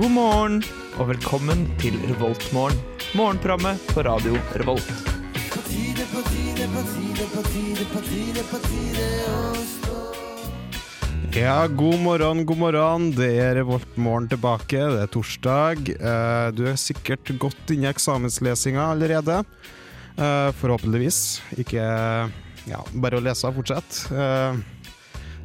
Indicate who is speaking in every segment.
Speaker 1: God morgen og velkommen til Revoltmorgen. Morgenprogrammet på radio Revolt.
Speaker 2: Ja, god morgen, god morgen. Det er Revoltmorgen tilbake. Det er torsdag. Eh, Du er sikkert godt inne i eksamenslesinga allerede. Eh, Forhåpentligvis. Ikke ja, bare å lese og fortsette. Eh,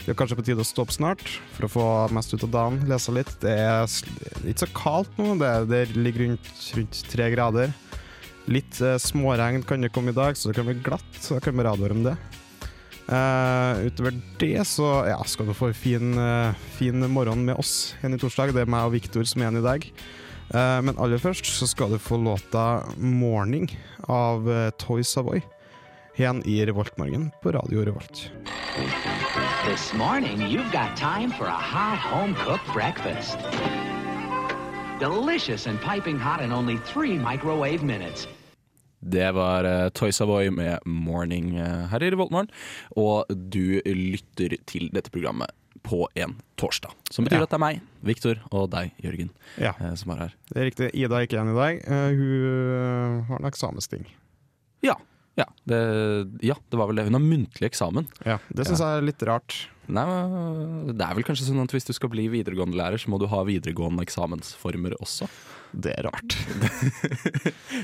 Speaker 2: Det er kanskje på tide å stoppe snart for å få mest ut av dagen. Lese litt. Det er s- det er ikke så kaldt nå. Det, det ligger rundt, rundt tre grader. Litt eh, småregn kan det komme i dag, så det kan bli glatt. Så da kan vi radioere om det. Eh, utover det så ja, skal du få en fin, eh, fin morgen med oss igjen i torsdag. Det er meg og Viktor som er igjen i dag. Eh, men aller først så skal du få låta 'Morning' av eh, Toy Savoy. Igjen i Revoltmorgen på Radio Revolt.
Speaker 3: This morning, you've got time for a hot home cooked breakfast. Delicious and piping hot in only three microwave minutes.
Speaker 4: Det var uh, Toy Savoy med 'Morning' eh, her i Revoltmorgen. Og du lytter til dette programmet på en torsdag. Som betyr
Speaker 2: Ja.
Speaker 4: at det er meg, Viktor, og deg, Jørgen,
Speaker 2: Ja,
Speaker 4: eh, som er her.
Speaker 2: det er riktig. Ida er ikke igjen i dag. Eh, hun eh, har en eksamensting.
Speaker 4: Ja. Ja det, ja, det var vel det. Hun har muntlig eksamen.
Speaker 2: Ja, det syns jeg er litt rart.
Speaker 4: Nei, men Det er vel kanskje sånn at hvis du skal bli videregående-lærer, så må du ha videregående eksamensformer også.
Speaker 2: Det er rart.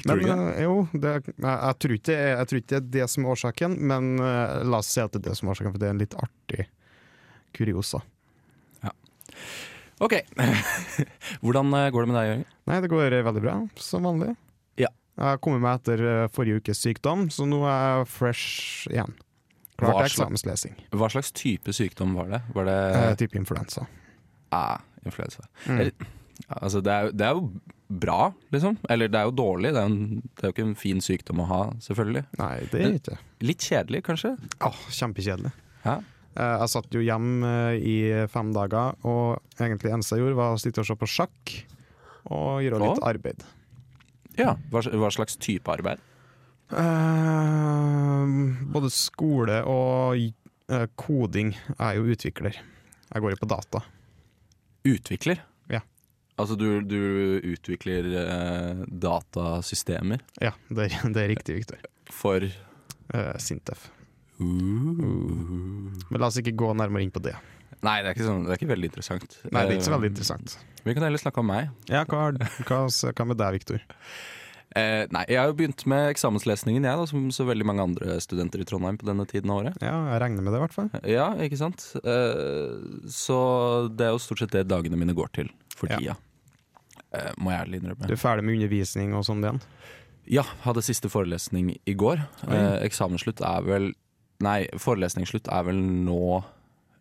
Speaker 4: Tror
Speaker 2: men
Speaker 4: du ikke
Speaker 2: eh, jo, det, jeg, jeg, tror ikke, jeg tror ikke det er det som er årsaken, men eh, la oss si at det er det som er årsaken, for det er en litt artig kuriosa.
Speaker 4: OK. Hvordan eh, går det med deg, Jørgen?
Speaker 2: Nei, det går eh, veldig bra, som vanlig.
Speaker 4: Ja.
Speaker 2: Jeg har kommet meg etter eh, forrige ukes sykdom, så nå er jeg fresh igjen. Klart
Speaker 4: Hva
Speaker 2: til
Speaker 4: slags-
Speaker 2: eksamenslesing.
Speaker 4: Hva slags type sykdom var det? Var det
Speaker 2: Eh, type influensa.
Speaker 4: ah, influensa?
Speaker 2: Mm.
Speaker 4: Eller- Ja, Altså, det, er, jo- det er jo bra, liksom. Eller det er jo dårlig. Det er, jo en, det er jo ikke en fin sykdom å ha, selvfølgelig.
Speaker 2: Nei, det er ikke
Speaker 4: Litt kjedelig, kanskje.
Speaker 2: Åh, Kjempekjedelig.
Speaker 4: Ja.
Speaker 2: Eh, Jeg satt jo hjem eh, i fem dager, og egentlig eneste jeg gjorde, var å sitte og se på sjakk og gjøre litt arbeid.
Speaker 4: ja. Hva, sl- hva slags type arbeid?
Speaker 2: Eh, både skole og eh, koding. Jeg er jo utvikler. Jeg går jo på data.
Speaker 4: Utvikler?
Speaker 2: Ja.
Speaker 4: Altså, du, du utvikler eh, datasystemer
Speaker 2: Ja, det er, det er riktig, Viktor.
Speaker 4: for
Speaker 2: Eh, Sintef. Uh. Men la oss ikke gå nærmere inn på det.
Speaker 4: Nei, det er, ikke sånn, det er ikke veldig interessant.
Speaker 2: Nei, det er ikke så
Speaker 4: Eh,
Speaker 2: veldig interessant.
Speaker 4: Vi kan heller snakke om meg.
Speaker 2: Ja, hva, har- hva, hva med deg, Viktor?
Speaker 4: Eh, nei, jeg har jo begynt med eksamenslesningen, jeg, da, som så veldig mange andre studenter i Trondheim på denne tiden av året.
Speaker 2: Ja, jeg regner med det, i hvert fall.
Speaker 4: Ja, ikke sant? Eh, Så det er jo stort sett det dagene mine går til for
Speaker 2: Ja.
Speaker 4: tida. Eh, Må jeg ærlig
Speaker 2: Du
Speaker 4: innrømme.
Speaker 2: er ferdig med undervisning og sånn igjen?
Speaker 4: Ja, hadde siste forelesning i går. Eh, Eksamensslutt er vel Nei, forelesningsslutt er vel nå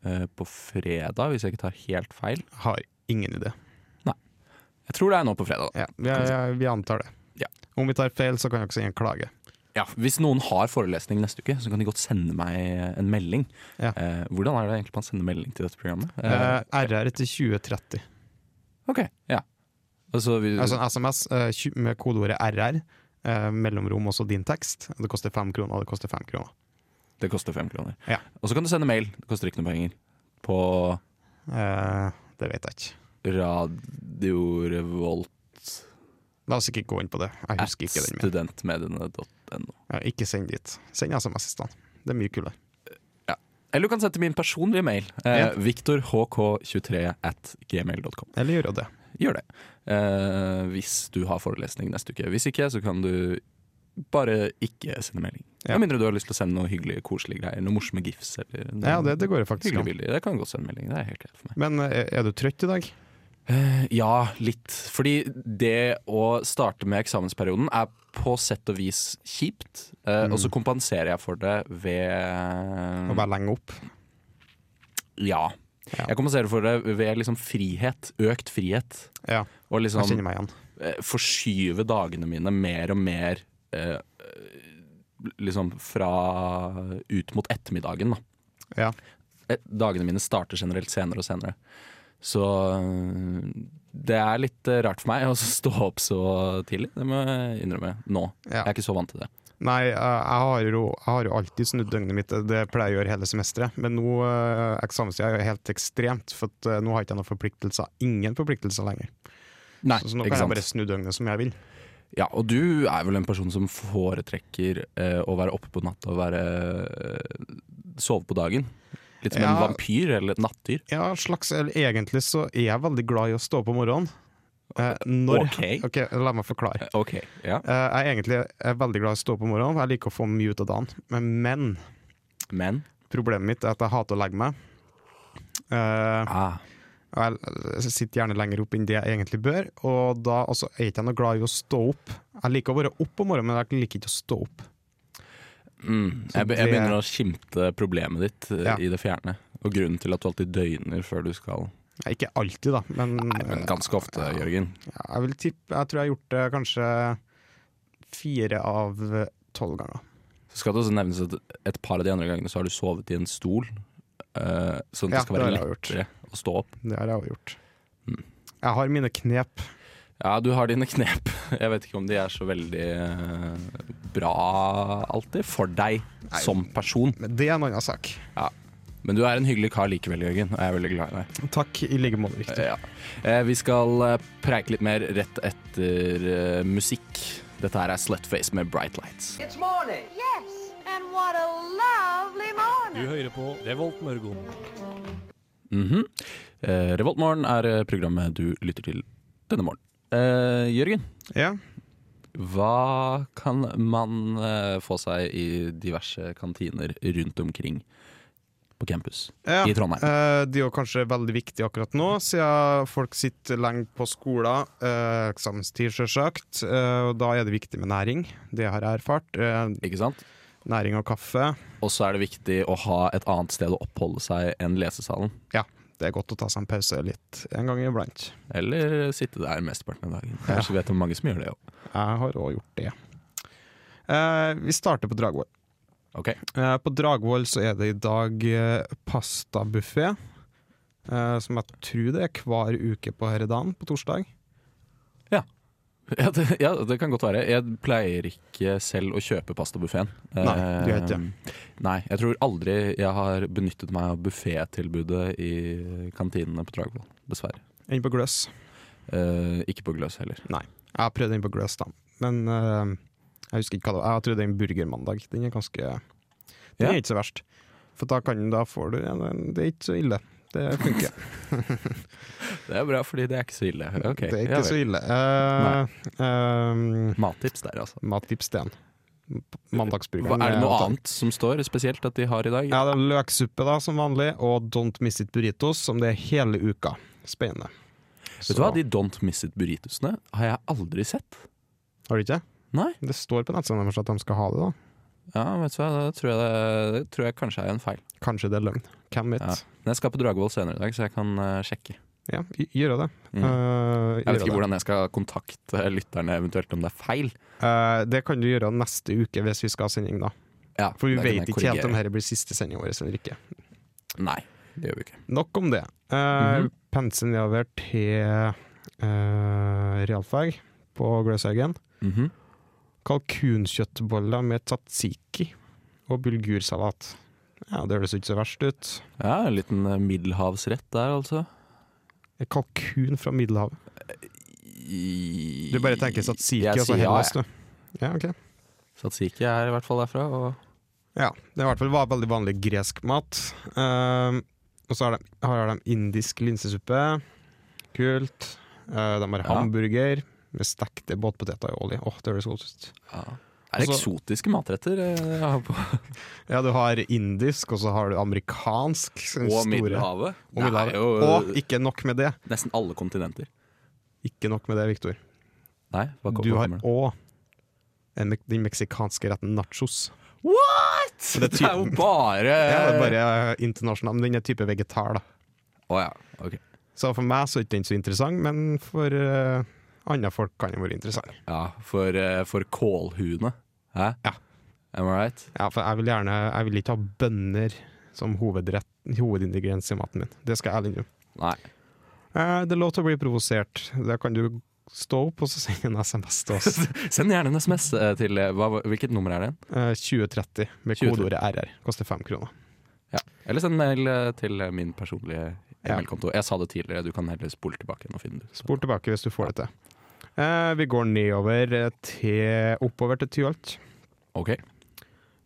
Speaker 4: eh, på fredag, hvis jeg ikke tar helt feil.
Speaker 2: Har ingen idé.
Speaker 4: Jeg tror det er nå på fredag. da.
Speaker 2: Ja, vi, er- vi antar det.
Speaker 4: Ja.
Speaker 2: Om vi tar feil, så kan jeg ikke si en klage.
Speaker 4: Ja, Hvis noen har forelesning neste uke, så kan de godt sende meg en melding.
Speaker 2: Ja.
Speaker 4: Eh, Hvordan er det egentlig man sender melding til dette programmet? Eh,
Speaker 2: Eh, RR til 2030.
Speaker 4: ok, ja. Altså, vi,
Speaker 2: Altså en SMS eh, tju- med kodeordet RR, eh, mellomrom også din tekst. Det koster fem kroner, det koster fem kroner.
Speaker 4: Det koster fem kroner.
Speaker 2: Ja.
Speaker 4: Og så kan du sende mail. Det koster ikke noe penger. På
Speaker 2: Eh, det vet jeg ikke.
Speaker 4: Radio Revolt
Speaker 2: La oss ikke gå inn på det. Jeg
Speaker 4: at
Speaker 2: husker ikke den mer.
Speaker 4: studentmediene.no.
Speaker 2: Ja, ikke send dit. Send SMS i stedet. Det er mye kulere.
Speaker 4: Eller du kan sende min personlige mail. Eh,
Speaker 2: Ja.
Speaker 4: ViktorHK23 at gmail.com.
Speaker 2: Eller gjøre det.
Speaker 4: Gjør det. Eh, hvis du har forelesning neste uke. Hvis ikke, så kan du bare ikke sende melding.
Speaker 2: Ja.
Speaker 4: Med mindre du har lyst til å sende noe hyggelig, koselige greier. Noe morsomme gifs. Eller noe
Speaker 2: Ja, det, det går jo faktisk
Speaker 4: hyggelige
Speaker 2: an.
Speaker 4: bilder. Det kan du godt sende melding. Det er helt greit for meg.
Speaker 2: Men eh, er du trøtt i dag?
Speaker 4: Eh, Ja, litt. Fordi det å starte med eksamensperioden er på sett og vis kjipt. eh, Og så kompenserer jeg for det ved
Speaker 2: Mm. Å være lenge opp?
Speaker 4: Ja.
Speaker 2: Ja.
Speaker 4: Jeg kompenserer for det ved liksom frihet. Økt frihet.
Speaker 2: Ja,
Speaker 4: Og
Speaker 2: jeg
Speaker 4: liksom
Speaker 2: kjenner meg igjen.
Speaker 4: eh, forskyve dagene mine mer og mer eh, liksom fra ut mot ettermiddagen, da.
Speaker 2: Ja.
Speaker 4: Eh, Dagene mine starter generelt senere og senere. Så øh, det er litt øh, rart for meg å stå opp så tidlig, det må jeg innrømme nå.
Speaker 2: Ja.
Speaker 4: Jeg er ikke så vant til det.
Speaker 2: Nei, eh, jeg har, jo, jeg har jo alltid snudd døgnet mitt, det pleier jeg å gjøre hele semesteret. Men nå eh, eksamenstida er jo helt ekstremt, for at, eh, nå har jeg ikke noen forpliktelser. Ingen forpliktelser lenger.
Speaker 4: Nei,
Speaker 2: Så, så nå
Speaker 4: ikke
Speaker 2: kan jeg
Speaker 4: sant.
Speaker 2: bare snu døgnet som jeg vil.
Speaker 4: Ja, og du er vel en person som foretrekker eh, å være oppe på natta og være eh, sove på dagen. Litt som en
Speaker 2: Ja.
Speaker 4: vampyr eller et nattdyr.
Speaker 2: Ja, slags, eller egentlig så er jeg veldig glad i å stå opp om morgenen. Eh, når
Speaker 4: Ok.
Speaker 2: ok, la meg forklare.
Speaker 4: Ok, ja.
Speaker 2: Eh, jeg er egentlig er veldig glad i å stå opp om morgenen, for jeg liker å få mye ut av dagen. Men, men
Speaker 4: Men
Speaker 2: problemet mitt er at jeg hater å legge meg. Eh,
Speaker 4: ah,
Speaker 2: og jeg sitter gjerne lenger opp enn det jeg egentlig bør, og da altså, er jeg ikke noe glad i å stå opp. Jeg liker å være opp om morgenen, men jeg liker ikke å stå opp.
Speaker 4: mm,
Speaker 2: Så
Speaker 4: jeg, be- jeg
Speaker 2: det-
Speaker 4: begynner å skimte problemet ditt eh,
Speaker 2: Ja.
Speaker 4: i det fjerne. Og grunnen til at du alltid døgner før du skal
Speaker 2: Eh, Ikke alltid, da, men,
Speaker 4: Nei, men ganske ofte, Jørgen.
Speaker 2: eh, jeg vil tippe Jeg tror jeg har gjort det kanskje fire av tolv ganger.
Speaker 4: Sånn Så skal det også nevnes at et par av de andre gangene så har du sovet i en stol. eh, sånn at
Speaker 2: Ja,
Speaker 4: det skal være
Speaker 2: det har jeg
Speaker 4: lettere Mm. å stå opp.
Speaker 2: Det har jeg også gjort. Jeg har mine knep.
Speaker 4: Ja, du har dine knep. Jeg vet ikke om de er så veldig eh, bra alltid for deg som person.
Speaker 2: Men det er en annen sak.
Speaker 4: Men du er en hyggelig kar likevel, Jørgen, og jeg er veldig glad i deg.
Speaker 2: Takk i like måte, Victor.
Speaker 4: Ja. Eh, Vi skal eh, preike litt mer rett etter eh, musikk. Dette her er Slutface med Bright Lights.
Speaker 5: It's morning.
Speaker 6: Yes, and what a lovely morning.
Speaker 7: hører på Revolt Mørgon.
Speaker 4: Mhm. Eh, Revoltmorgen er eh, programmet du lytter til denne morgenen. Eh, Jørgen,
Speaker 2: Ja.
Speaker 4: hva kan man eh, få seg i diverse kantiner rundt omkring på campus
Speaker 2: Ja.
Speaker 4: i Trondheim?
Speaker 2: Eh, det er jo kanskje veldig viktig akkurat nå, siden folk sitter lenge på skolen. Eh, eksamenstid, selvsagt. Eh, og da er det viktig med næring. Det har jeg erfart. Eh,
Speaker 4: Ikke sant?
Speaker 2: næring og kaffe.
Speaker 4: Og så er det viktig å ha et annet sted å oppholde seg enn lesesalen.
Speaker 2: Ja, det er godt å ta seg en pause litt en gang iblant.
Speaker 4: Eller sitte der mesteparten av dagen. Kanskje vet om mange som gjør det òg.
Speaker 2: Jeg har òg gjort det. Eh, vi starter på Dragvoll.
Speaker 4: Ok.
Speaker 2: Eh, på Dragvoll så er det i dag eh, pastabuffé, eh, som jeg tror det er hver uke på herre dagen, på torsdag.
Speaker 4: Ja det, ja, det kan godt være. Jeg pleier ikke selv å kjøpe pastabuffeen. Eh,
Speaker 2: Nei, du gjør ikke
Speaker 4: Nei, jeg tror aldri jeg har benyttet meg av buffétilbudet i kantinene på Dragvoll. Dessverre.
Speaker 2: Inn på Gløs.
Speaker 4: Eh, ikke på Gløs heller.
Speaker 2: Jeg har prøvd den på Gløs, da. Men eh, jeg husker ikke hva det var. Jeg har prøvd den burgermandag. Den er ganske Den
Speaker 4: Ja.
Speaker 2: er ikke så verst. For da, kan, da får du ja, den- Det er ikke så ille. Det funker.
Speaker 4: Det er bra, fordi det er ikke så ille. Ok,
Speaker 2: det er
Speaker 4: ja
Speaker 2: ikke så
Speaker 4: vel.
Speaker 2: ille. Eh, eh,
Speaker 4: Mattips der, altså.
Speaker 2: Mattips Steen. Mandagsburgeren.
Speaker 4: Hva, er det noe
Speaker 2: eh,
Speaker 4: annet som står spesielt at de har i dag?
Speaker 2: Ja, det er løksuppe da, som vanlig, og Don't Miss It Burritos, som det er hele uka. Spennende.
Speaker 4: Vet du hva, De Don't Miss It burritosene har jeg aldri sett.
Speaker 2: Har du ikke?
Speaker 4: Nei.
Speaker 2: Det står på nettsiden deres at de skal ha det, da.
Speaker 4: Ja, vet du hva, Det tror jeg, det, det tror jeg kanskje er en feil.
Speaker 2: Kanskje det er løgn. Hvem vet?
Speaker 4: Ja. Men jeg skal på Dragvoll senere i dag, så jeg kan eh, sjekke.
Speaker 2: Ja, gj- gjør det.
Speaker 4: Mm.
Speaker 2: Eh,
Speaker 4: Jeg vet
Speaker 2: gjør
Speaker 4: ikke
Speaker 2: det.
Speaker 4: hvordan jeg skal kontakte lytterne eventuelt om det er feil.
Speaker 2: Eh, det kan du gjøre neste uke hvis vi skal ha sending, da.
Speaker 4: Ja,
Speaker 2: For vi
Speaker 4: det kan jeg
Speaker 2: vet ikke helt
Speaker 4: korrigere.
Speaker 2: om dette blir siste sendinga vår eller ikke.
Speaker 4: Nei, det gjør vi ikke.
Speaker 2: Nok om det. Eh,
Speaker 4: Mhm.
Speaker 2: Pensen nedover til eh, realfag på Gløshaugen.
Speaker 4: Mhm.
Speaker 2: kalkunkjøttboller med tzatziki og bulgursalat. Ja, Det høres ikke så verst ut.
Speaker 4: Ja, En liten eh, middelhavsrett der, altså.
Speaker 2: En kalkun fra Middelhavet.
Speaker 4: I-
Speaker 2: Du bare tenker tzatziki
Speaker 4: Jeg
Speaker 2: og så
Speaker 4: sier
Speaker 2: Hellas,
Speaker 4: ja, jeg.
Speaker 2: du. Ja, ok.
Speaker 4: Tzatziki er i hvert fall derfra. Og
Speaker 2: Ja, det er i hvert fall va- veldig vanlig gresk mat. Ehm, og så har de, har de indisk linsesuppe. Kult. Eh, de har
Speaker 4: Ja.
Speaker 2: hamburger med stekte båtpoteter i olje. Åh, det høres godt ut.
Speaker 4: ja. Det er
Speaker 2: Altså-
Speaker 4: eksotiske matretter eh, jeg har på.
Speaker 2: Ja, du har indisk, og så har du amerikansk. som
Speaker 4: Og
Speaker 2: store-
Speaker 4: Middelhavet.
Speaker 2: Og, Middelhavet.
Speaker 4: Det er jo eh,
Speaker 2: og ikke nok med det.
Speaker 4: nesten alle kontinenter.
Speaker 2: Ikke nok med det, Viktor.
Speaker 4: Nei, hva kom,
Speaker 2: Du
Speaker 4: hva
Speaker 2: har
Speaker 4: kommer det?
Speaker 2: òg den mek- den meksikanske retten nachos.
Speaker 4: What?! Det,
Speaker 2: det er
Speaker 4: er jo bare
Speaker 2: Ja, det er bare eh, internasjonal, men den er type vegetar, da.
Speaker 4: Å ja, ok.
Speaker 2: Så for meg så er ikke den så interessant, men for eh, andre folk kan den være interessant.
Speaker 4: Ja, for, eh, for kålhuene. Hæ?
Speaker 2: Ja.
Speaker 4: Am I right?
Speaker 2: Ja, for jeg vil gjerne Jeg vil ikke ha bønner som hovedrett, hovedingrediens i maten min. Det skal jeg ærlig innrømme.
Speaker 4: Nei.
Speaker 2: Eh, Det er lov til å bli provosert. Da kan du stå opp og så sende en SMS til oss.
Speaker 4: Send gjerne en SMS til eh, hva, Hvilket nummer er det? igjen?
Speaker 2: Eh, 2030 med
Speaker 4: 2030.
Speaker 2: kodeordet RR. Koster fem kroner.
Speaker 4: Ja. Eller send mail eh, til eh, min personlige
Speaker 2: Ja.
Speaker 4: e-mailkonto. Jeg sa det tidligere, du kan heller spole tilbake igjen og finne det ut.
Speaker 2: Spol tilbake hvis du får det til. Eh, vi går nedover eh, til oppover til Tyholt.
Speaker 4: Ok.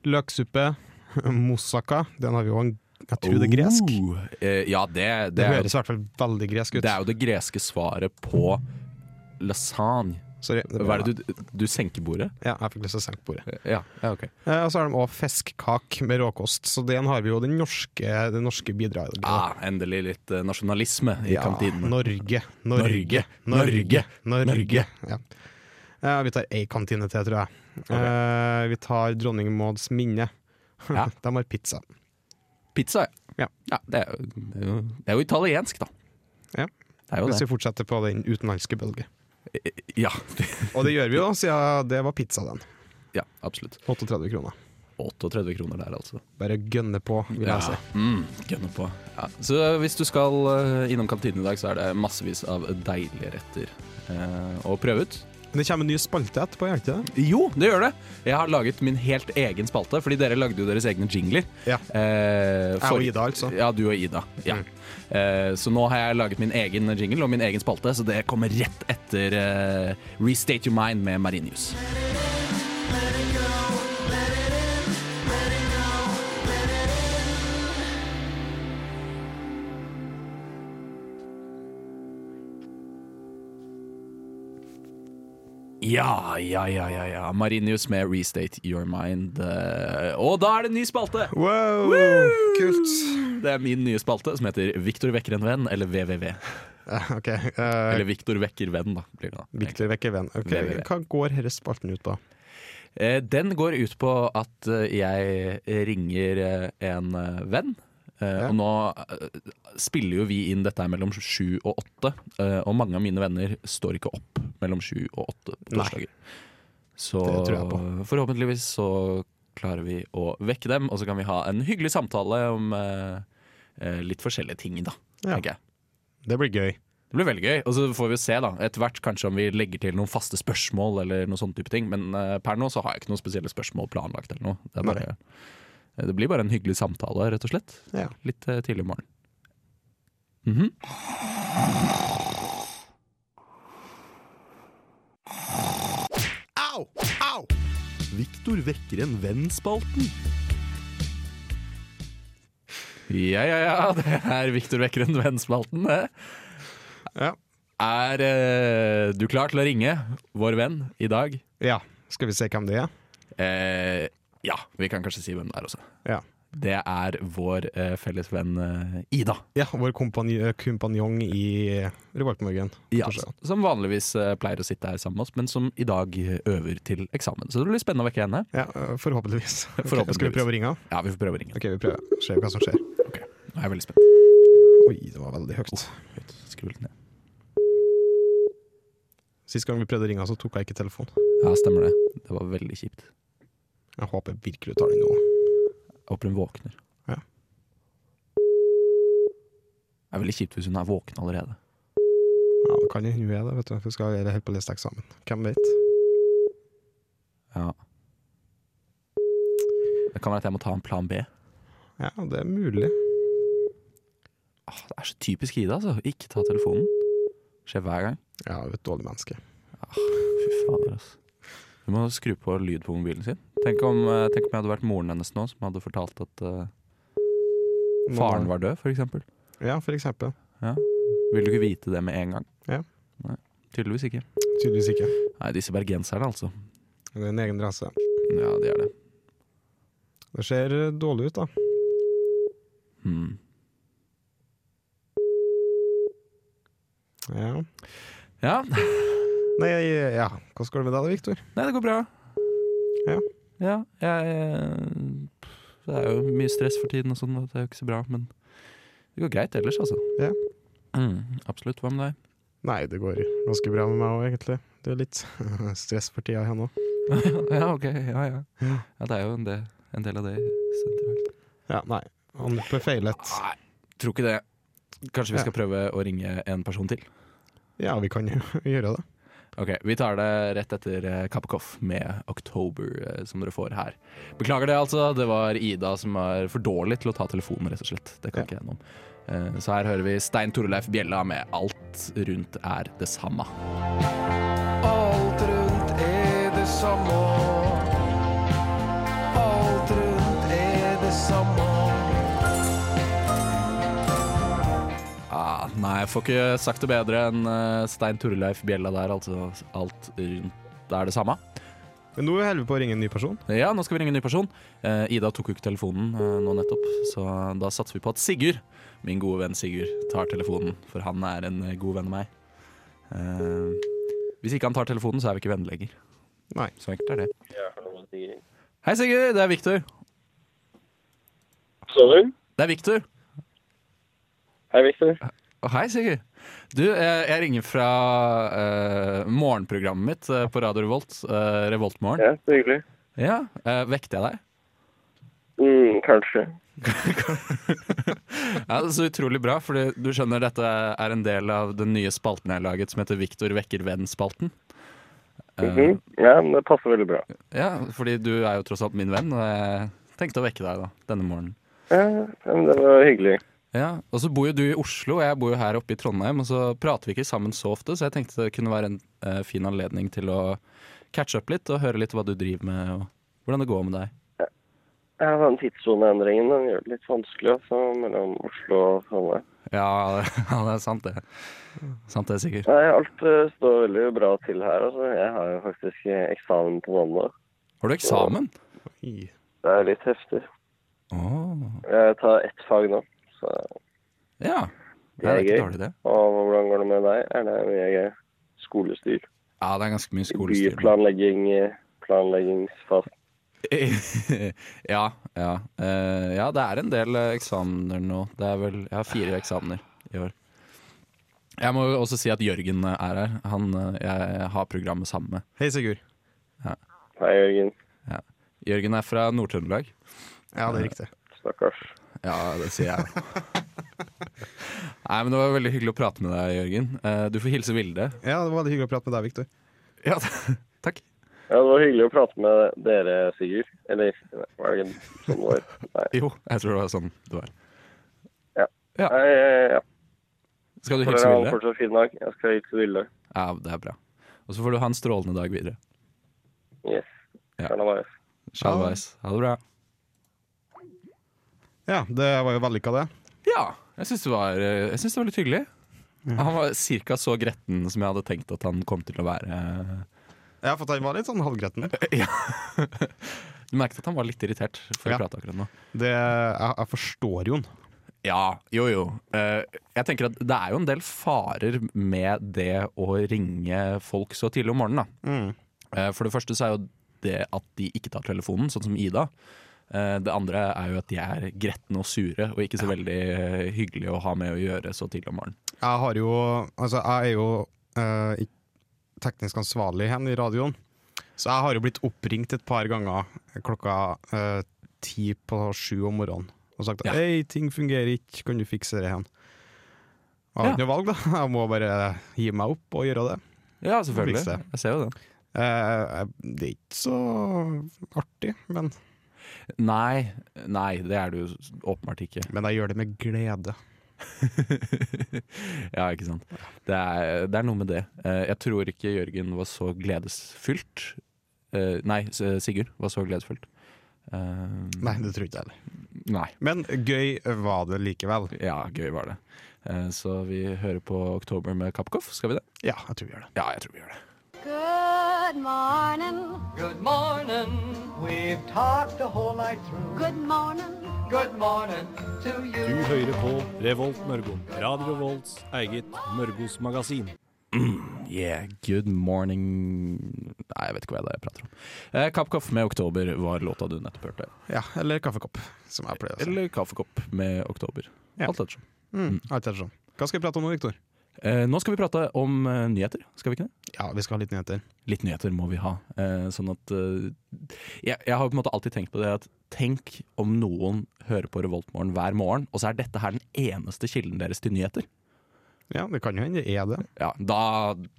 Speaker 2: Løksuppe, moussaka. Den har vi jo en Jeg tror det er gresk. Det,
Speaker 4: Oh, eh, ja, det, det, er,
Speaker 2: høres i hvert fall veldig gresk ut.
Speaker 4: det er jo det greske svaret på lasagne.
Speaker 2: Sorry. det
Speaker 4: Hva er det du, du senker bordet?
Speaker 2: Ja, jeg fikk lyst til å senke bordet.
Speaker 4: Ja, ja ok.
Speaker 2: Eh, og så har de òg fiskekake med råkost, så den har vi jo den norske, det norske bidraget.
Speaker 4: Ah, endelig litt eh, nasjonalisme i
Speaker 2: Ja,
Speaker 4: kantinene.
Speaker 2: Norge, Norge,
Speaker 4: Norge,
Speaker 2: Norge.
Speaker 4: Norge.
Speaker 2: Ja. Eh, vi tar ei kantine til, tror jeg. Eh, vi tar Dronning Mauds minne.
Speaker 4: Ja.
Speaker 2: De har pizza.
Speaker 4: Pizza,
Speaker 2: Ja.
Speaker 4: ja. ja det, er, jo- det, er jo, det er jo italiensk, da.
Speaker 2: Ja.
Speaker 4: Det er jo
Speaker 2: Hvis
Speaker 4: det. Eh,
Speaker 2: vi fortsetter på den utenlandske bølge.
Speaker 4: Ja,
Speaker 2: Og det gjør vi jo, siden det var pizza, den.
Speaker 4: ja absolutt.
Speaker 2: 38 kroner.
Speaker 4: 38 kroner der, altså.
Speaker 2: Bare gønne på, vil jeg si.
Speaker 4: Mm, gønne på. Ja. Så hvis du skal eh, innom kantinen i dag, så er det massevis av deilige retter eh, å prøve ut.
Speaker 2: Men det kommer en ny spalte etterpå, gjør det ikke det?
Speaker 4: Jo, det gjør det! Jeg har laget min helt egen spalte, fordi dere lagde jo deres egne jingler.
Speaker 2: Ja.
Speaker 4: Eh,
Speaker 2: Jeg og Ida, altså.
Speaker 4: Ja, du og Ida. Ja.
Speaker 2: Mm.
Speaker 4: Eh, så nå har jeg laget min egen jingle og min egen spalte, så det kommer rett etter eh, Restate Your Mind med Marinius. Ja, ja, ja, ja, ja. Marinius med Restate Your Mind. eh, Og da er det en ny spalte!
Speaker 2: Wow, kult.
Speaker 4: Det er min nye spalte som heter Viktor vekker en venn, eller VVV.
Speaker 2: Eh, Ok.
Speaker 4: Eller
Speaker 2: Uh,
Speaker 4: Viktor vekker venn, da. Blir det da.
Speaker 2: Victor vekker venn. Ok,
Speaker 4: VVV.
Speaker 2: Hva går denne spalten ut på?
Speaker 4: Eh, Den går ut på at eh, jeg ringer eh, en eh, venn. Eh,
Speaker 2: Ja.
Speaker 4: Og nå eh, spiller jo vi inn dette her mellom sju og åtte, eh, og mange av mine venner står ikke opp mellom sju og åtte på
Speaker 2: Nei.
Speaker 4: torsdager. Så
Speaker 2: Det tror jeg på.
Speaker 4: forhåpentligvis så klarer vi å vekke dem, og så kan vi ha en hyggelig samtale om eh, eh, litt forskjellige ting, da.
Speaker 2: Ja.
Speaker 4: tenker jeg.
Speaker 2: Det blir gøy.
Speaker 4: Det blir veldig gøy, og så får vi jo se da etter hvert kanskje om vi legger til noen faste spørsmål. eller noen sånne type ting Men eh, per nå så har jeg ikke noen spesielle spørsmål planlagt. eller noe Det, er bare, det blir bare en hyggelig samtale, rett og slett.
Speaker 2: Ja.
Speaker 4: Litt eh, tidlig Mhm. om morgenen.
Speaker 2: Au! Au!
Speaker 4: Viktor vekker en venn-spalten. Ja, ja, ja, det er Viktor vekker en venn-spalten. det.
Speaker 2: Ja.
Speaker 4: Er eh, du klar til å ringe vår venn i dag?
Speaker 2: Ja, skal vi se hvem det er?
Speaker 4: Eh, ja, vi kan kanskje si hvem det er også.
Speaker 2: Ja,
Speaker 4: Det er vår eh, felles venn eh, Ida.
Speaker 2: ja vår kompanj- kompanjong i Revoltmorgen.
Speaker 4: s- som vanligvis eh, pleier å sitte her sammen med oss, men som i dag eh, øver til eksamen. Så det blir spennende å vekke henne.
Speaker 2: Ja, øh, forhåpentligvis. Ok,
Speaker 4: Forhåpentligvis.
Speaker 2: Skal vi prøve å ringe? henne?
Speaker 4: Ja, vi får prøve å ringe.
Speaker 2: Ok, vi prøver. Se hva som skjer.
Speaker 4: Ok, Nå er jeg veldig spent.
Speaker 2: Oi, det var veldig høyt.
Speaker 4: Høyt, Skru litt ned.
Speaker 2: Sist gang vi prøvde å ringe, henne, så tok jeg ikke telefonen.
Speaker 4: Ja, stemmer det. Det var veldig kjipt.
Speaker 2: Jeg håper virkelig du tar den nå.
Speaker 4: Jeg håper hun våkner.
Speaker 2: Ja.
Speaker 4: Det er veldig kjipt hvis hun er våken allerede.
Speaker 2: Ja, det kan jo hende hun er det, vet du. for Vi skal gjøre helt på liste eksamen. Hvem vet?
Speaker 4: Ja. Det kan være at jeg må ta en plan B.
Speaker 2: Ja, det er mulig.
Speaker 4: Ah, det er så typisk Ida, altså. Ikke ta telefonen. Skjer hver gang.
Speaker 2: Ja, hun er et dårlig menneske.
Speaker 4: Fy fader, altså. Du må skru på lyd på mobilen sin. Tenk om, eh, tenk om jeg hadde vært moren hennes nå, som hadde fortalt at eh, faren var død, f.eks.
Speaker 2: Ja, for eksempel.
Speaker 4: Ville du ikke vite det med en gang?
Speaker 2: Ja.
Speaker 4: Nei, Tydeligvis ikke.
Speaker 2: Tydeligvis ikke.
Speaker 4: Nei, disse bergenserne, altså.
Speaker 2: Det er en egen rase.
Speaker 4: Ja, de er det.
Speaker 2: Det ser øh, dårlig ut, da.
Speaker 4: Hmm.
Speaker 2: Ja.
Speaker 4: Ja. Nei,
Speaker 2: Nei, ja. Hva skal du med deg da, Viktor?
Speaker 4: det går bra.
Speaker 2: Ja.
Speaker 4: Ja, jeg eh, Det er jo mye stress for tiden og sånn, og det er jo ikke så bra, men det går greit ellers, altså.
Speaker 2: Ja.
Speaker 4: Mm, absolutt. Hva med deg?
Speaker 2: Nei, det går ganske bra med meg òg, egentlig. Det er litt stress for tida her nå.
Speaker 4: ja, ok. Ja, ja. ja, det er jo en del, en del av det sentralt.
Speaker 2: Ja, nei. Han ble feilet.
Speaker 4: Nei, tror ikke det. Kanskje vi
Speaker 2: Ja.
Speaker 4: skal prøve å ringe en person til?
Speaker 2: Ja, vi kan jo gjøre det.
Speaker 4: Ok, Vi tar det rett etter eh, Kapp og Koff med 'October', eh, som dere får her. Beklager det, altså. Det var Ida som er for dårlig til å ta telefonen, rett og slett. Det kan
Speaker 2: Ja.
Speaker 4: ikke jeg noe om. Eh, Så her hører vi Stein Torleif Bjella med 'Alt rundt er det samme'.
Speaker 5: Alt rundt er det samme. Alt rundt er det samme.
Speaker 4: Ah, nei, jeg får ikke sagt det bedre enn eh, Stein Torleif Bjella der, altså. Alt rundt er det samme.
Speaker 2: Men nå holder vi på å ringe en ny person.
Speaker 4: Ja, nå skal vi ringe en ny person. Eh, Ida tok jo ikke telefonen eh, nå nettopp, så da satser vi på at Sigurd, min gode venn Sigurd, tar telefonen. For han er en eh, god venn av meg. Eh, hvis ikke han tar telefonen, så er vi ikke venner lenger.
Speaker 2: Nei.
Speaker 4: Så enkelt er det. Hei, Sigurd. Det er Victor.
Speaker 7: Sover?
Speaker 4: Det er Victor.
Speaker 7: Hei, Victor.
Speaker 4: Å, Hei, Sigurd. Du, eh, jeg ringer fra eh, morgenprogrammet mitt eh, på Radio Revolt. Eh, Revoltmorgen.
Speaker 7: Ja, så hyggelig.
Speaker 4: Ja. Eh, vekte jeg deg?
Speaker 7: Mm, kanskje.
Speaker 4: Ja, det er Så utrolig bra, for du skjønner dette er en del av den nye spalten jeg har laget, som heter Viktor vekker venn-spalten. Eh,
Speaker 7: Mhm. Ja, men det passer veldig bra.
Speaker 4: Ja, fordi du er jo tross alt min venn, og jeg tenkte å vekke deg da, denne morgenen.
Speaker 7: Ja, ja, men det var hyggelig.
Speaker 4: Ja, Og så bor jo du i Oslo, og jeg bor jo her oppe i Trondheim. Og så prater vi ikke sammen så ofte, så jeg tenkte det kunne være en eh, fin anledning til å catche up litt og høre litt hva du driver med, og hvordan det går med deg.
Speaker 7: Ja, den tidssoneendringen den gjør det litt vanskelig altså, mellom Oslo og Trondheim.
Speaker 4: Ja, ja, det er sant det. Sant det, Sigurd.
Speaker 7: Nei, alt eh, står veldig bra til her. Altså. Jeg har jo faktisk eh, eksamen på mandag.
Speaker 4: Har du eksamen?
Speaker 2: Oi.
Speaker 7: Det er litt heftig.
Speaker 4: Åh,
Speaker 7: Jeg tar ett fag nå. Så.
Speaker 4: ja.
Speaker 7: Det
Speaker 4: Nei, det
Speaker 7: er
Speaker 4: er ikke
Speaker 7: gøy.
Speaker 4: dårlig, det.
Speaker 7: Og hvordan går det med deg? Er det mye gøy? Skolestyr?
Speaker 4: Ja, det er ganske mye skolestyr. nå.
Speaker 7: Byplanlegging? eh, Planleggingsfase?
Speaker 4: ja, ja. Eh, ja, det er en del eh, eksamener nå. Det er vel, jeg har fire eksamener i år. Jeg må jo også si at Jørgen eh, er her. Han eh, jeg har programmet sammen med.
Speaker 2: Hei, Sigurd.
Speaker 7: Hei, Jørgen.
Speaker 4: Jørgen er fra Nord-Trøndelag.
Speaker 2: Ja, det er riktig.
Speaker 7: Stakkars.
Speaker 4: Ja, det sier jeg. Nei, men Det var veldig hyggelig å prate med deg, Jørgen. Eh, du får hilse Vilde.
Speaker 2: Ja, det var veldig hyggelig å prate med deg, Victor.
Speaker 4: Ja, takk.
Speaker 7: Ja, det var hyggelig å prate med dere, Sigurd. Eller nei, var det ikke sånn det var? Nei.
Speaker 4: Jo, jeg tror det var sånn det var.
Speaker 7: Nei, eh, ja, ja.
Speaker 4: Skal du
Speaker 7: For
Speaker 4: hilse
Speaker 7: dere har en
Speaker 4: Vilde?
Speaker 7: fortsatt fin dag. Jeg skal hilse Vilde.
Speaker 4: Ja, det er bra. Og så får du ha en strålende dag videre.
Speaker 7: Yes.
Speaker 4: Ja.
Speaker 7: Karneval.
Speaker 4: Shalvais. Ha det bra.
Speaker 2: Ja, det var jo vellykka, det.
Speaker 4: Ja, jeg syns det, var- eh, jeg syns det var litt hyggelig. Han var cirka så gretten som jeg hadde tenkt at han kom til å være.
Speaker 2: Ja, for han var litt sånn halvgretten.
Speaker 4: Du merket at han var litt irritert før vi
Speaker 2: Ja.
Speaker 4: pratet akkurat nå.
Speaker 2: Det, jeg, jeg forstår Jon.
Speaker 4: Ja, jo jo. Eh, jeg tenker at det er jo en del farer med det å ringe folk så tidlig om morgenen, da.
Speaker 2: Mm.
Speaker 4: Eh, for det første så er jo det at de ikke tar telefonen, sånn som Ida. Eh, det andre er jo at de er gretne og sure, og ikke så veldig hyggelige å ha med å gjøre så tidlig om morgenen.
Speaker 2: Jeg har jo Altså, jeg er jo eh, ikk- teknisk ansvarlig hen i radioen, så jeg har jo blitt oppringt et par ganger klokka eh, ti på sju om morgenen og sagt
Speaker 4: Ja.
Speaker 2: at Hei, ting fungerer ikke, kan du fikse det hen? Jeg har
Speaker 4: Ja.
Speaker 2: ikke noe valg, da. Jeg må bare gi meg opp og gjøre det.
Speaker 4: Ja,
Speaker 2: selvfølgelig.
Speaker 4: selvfølgelig. Jeg ser jo den.
Speaker 2: Eh, det er ikke så artig, men,
Speaker 4: Nei, nei, det er det jo åpenbart ikke.
Speaker 2: men jeg gjør det med glede.
Speaker 4: Ja, ikke sant. Det er, det er noe med det. Eh, Jeg tror ikke Jørgen var så gledesfylt. Eh, Nei, S- Sigurd var så gledesfylt. Eh,
Speaker 2: Nei, det tror ikke jeg heller.
Speaker 4: Nei.
Speaker 2: Men gøy var det likevel.
Speaker 4: Ja, gøy var det. Eh, Så vi hører på Oktober med Kapkoff, skal vi det?
Speaker 2: Ja, jeg tror vi gjør det.
Speaker 4: Ja, jeg tror vi gjør det.
Speaker 6: Good morning.
Speaker 5: Good morning, we've talked the whole night through.
Speaker 6: Good morning.
Speaker 5: Good morning to you.
Speaker 8: Du hører på Revolt Mørgo. Radio Revolts eget Mørgos magasin.
Speaker 4: Yeah, good morning Nei, jeg vet ikke hva det er jeg prater om. Eh, Kapkoff med Oktober var låta du nettopp hørte.
Speaker 2: Ja, Eller kaffekopp, som jeg pleier å si.
Speaker 4: Eller Kaffekopp med Oktober.
Speaker 2: Ja.
Speaker 4: Alt ettersom.
Speaker 2: Mm. alt er sånn. Hva skal vi prate om nå, Viktor?
Speaker 4: Eh, Nå skal vi prate om eh, nyheter, skal vi ikke det?
Speaker 2: Ja, vi skal ha litt nyheter.
Speaker 4: Litt nyheter må vi ha. Eh, sånn at eh, jeg, jeg har på en måte alltid tenkt på det at tenk om noen hører på Revoltmorgen hver morgen, og så er dette her den eneste kilden deres til nyheter.
Speaker 2: Ja, det kan jo hende det er det.
Speaker 4: Ja, da,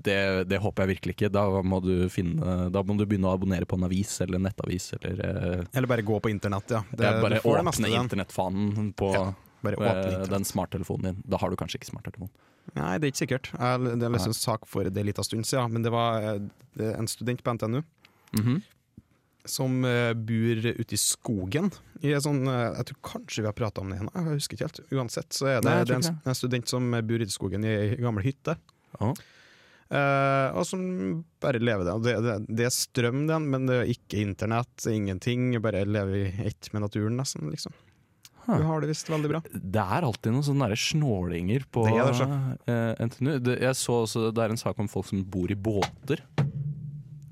Speaker 4: det, det håper jeg virkelig ikke. Da må, du finne, da må du begynne å abonnere på en avis eller en nettavis eller eh,
Speaker 2: Eller bare gå på internett, ja. Det,
Speaker 4: ja, Bare
Speaker 2: du får det meste
Speaker 4: åpne
Speaker 2: den.
Speaker 4: internettfanen på
Speaker 2: Bare
Speaker 4: Og, eh,
Speaker 2: åpne internett.
Speaker 4: den smarttelefonen din. Da har du kanskje ikke smarttelefon.
Speaker 2: Nei, det er ikke sikkert. Jeg, det er liksom en sak for det en liten stund siden, men det var eh, det er en student på NTNU
Speaker 4: Mhm.
Speaker 2: som eh, bor ute i skogen. I en sånn, eh, jeg tror kanskje vi har prata om det ennå, jeg husker ikke helt. Uansett så er det,
Speaker 4: Nei, jeg tror
Speaker 2: det er en,
Speaker 4: ikke
Speaker 2: en student som bor ute i skogen i ei gammel hytte.
Speaker 4: Ja.
Speaker 2: Eh, og som bare lever det. Og Det, det. Det er strøm, den, men det er ikke internett, ingenting. Bare lever i ett med naturen, nesten. liksom.
Speaker 4: Huh.
Speaker 2: Du har det visst veldig bra. Eh,
Speaker 4: Det er alltid noen sånne der snålinger på
Speaker 2: Det er det,
Speaker 4: eh, NTNU. Det, jeg så også, det er en sak om folk som bor i båter.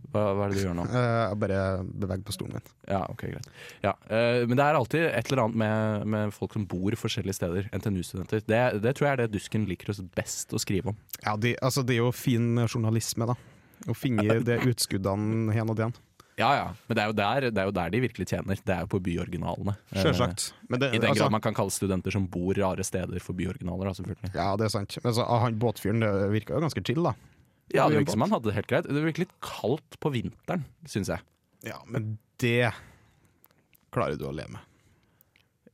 Speaker 4: Hva, hva er det du gjør nå?
Speaker 2: Eh, jeg bare beveger på stolen min.
Speaker 4: Ja, ok, greit. Ja, eh, men det er alltid et eller annet med, med folk som bor forskjellige steder. NTNU-studenter. Det, det tror jeg er det Dusken liker oss best å skrive om.
Speaker 2: Ja, de, altså, det er jo fin journalisme, da. Å finne de utskuddene hen og den.
Speaker 4: Ja, ja. Men det er jo der, det er jo der de virkelig tjener. Det er jo på byoriginalene. Eh,
Speaker 2: Sjølsagt. Men det,
Speaker 4: I den
Speaker 2: altså,
Speaker 4: grad man kan kalle studenter som bor rare steder for byoriginaler, da, selvfølgelig.
Speaker 2: ja, det er sant. Men altså, han båtfyren det virka jo ganske chill, da.
Speaker 4: Ja, det virker som han hadde det helt greit. Det virker litt kaldt på vinteren, syns jeg.
Speaker 2: Ja, men det klarer du å leve med.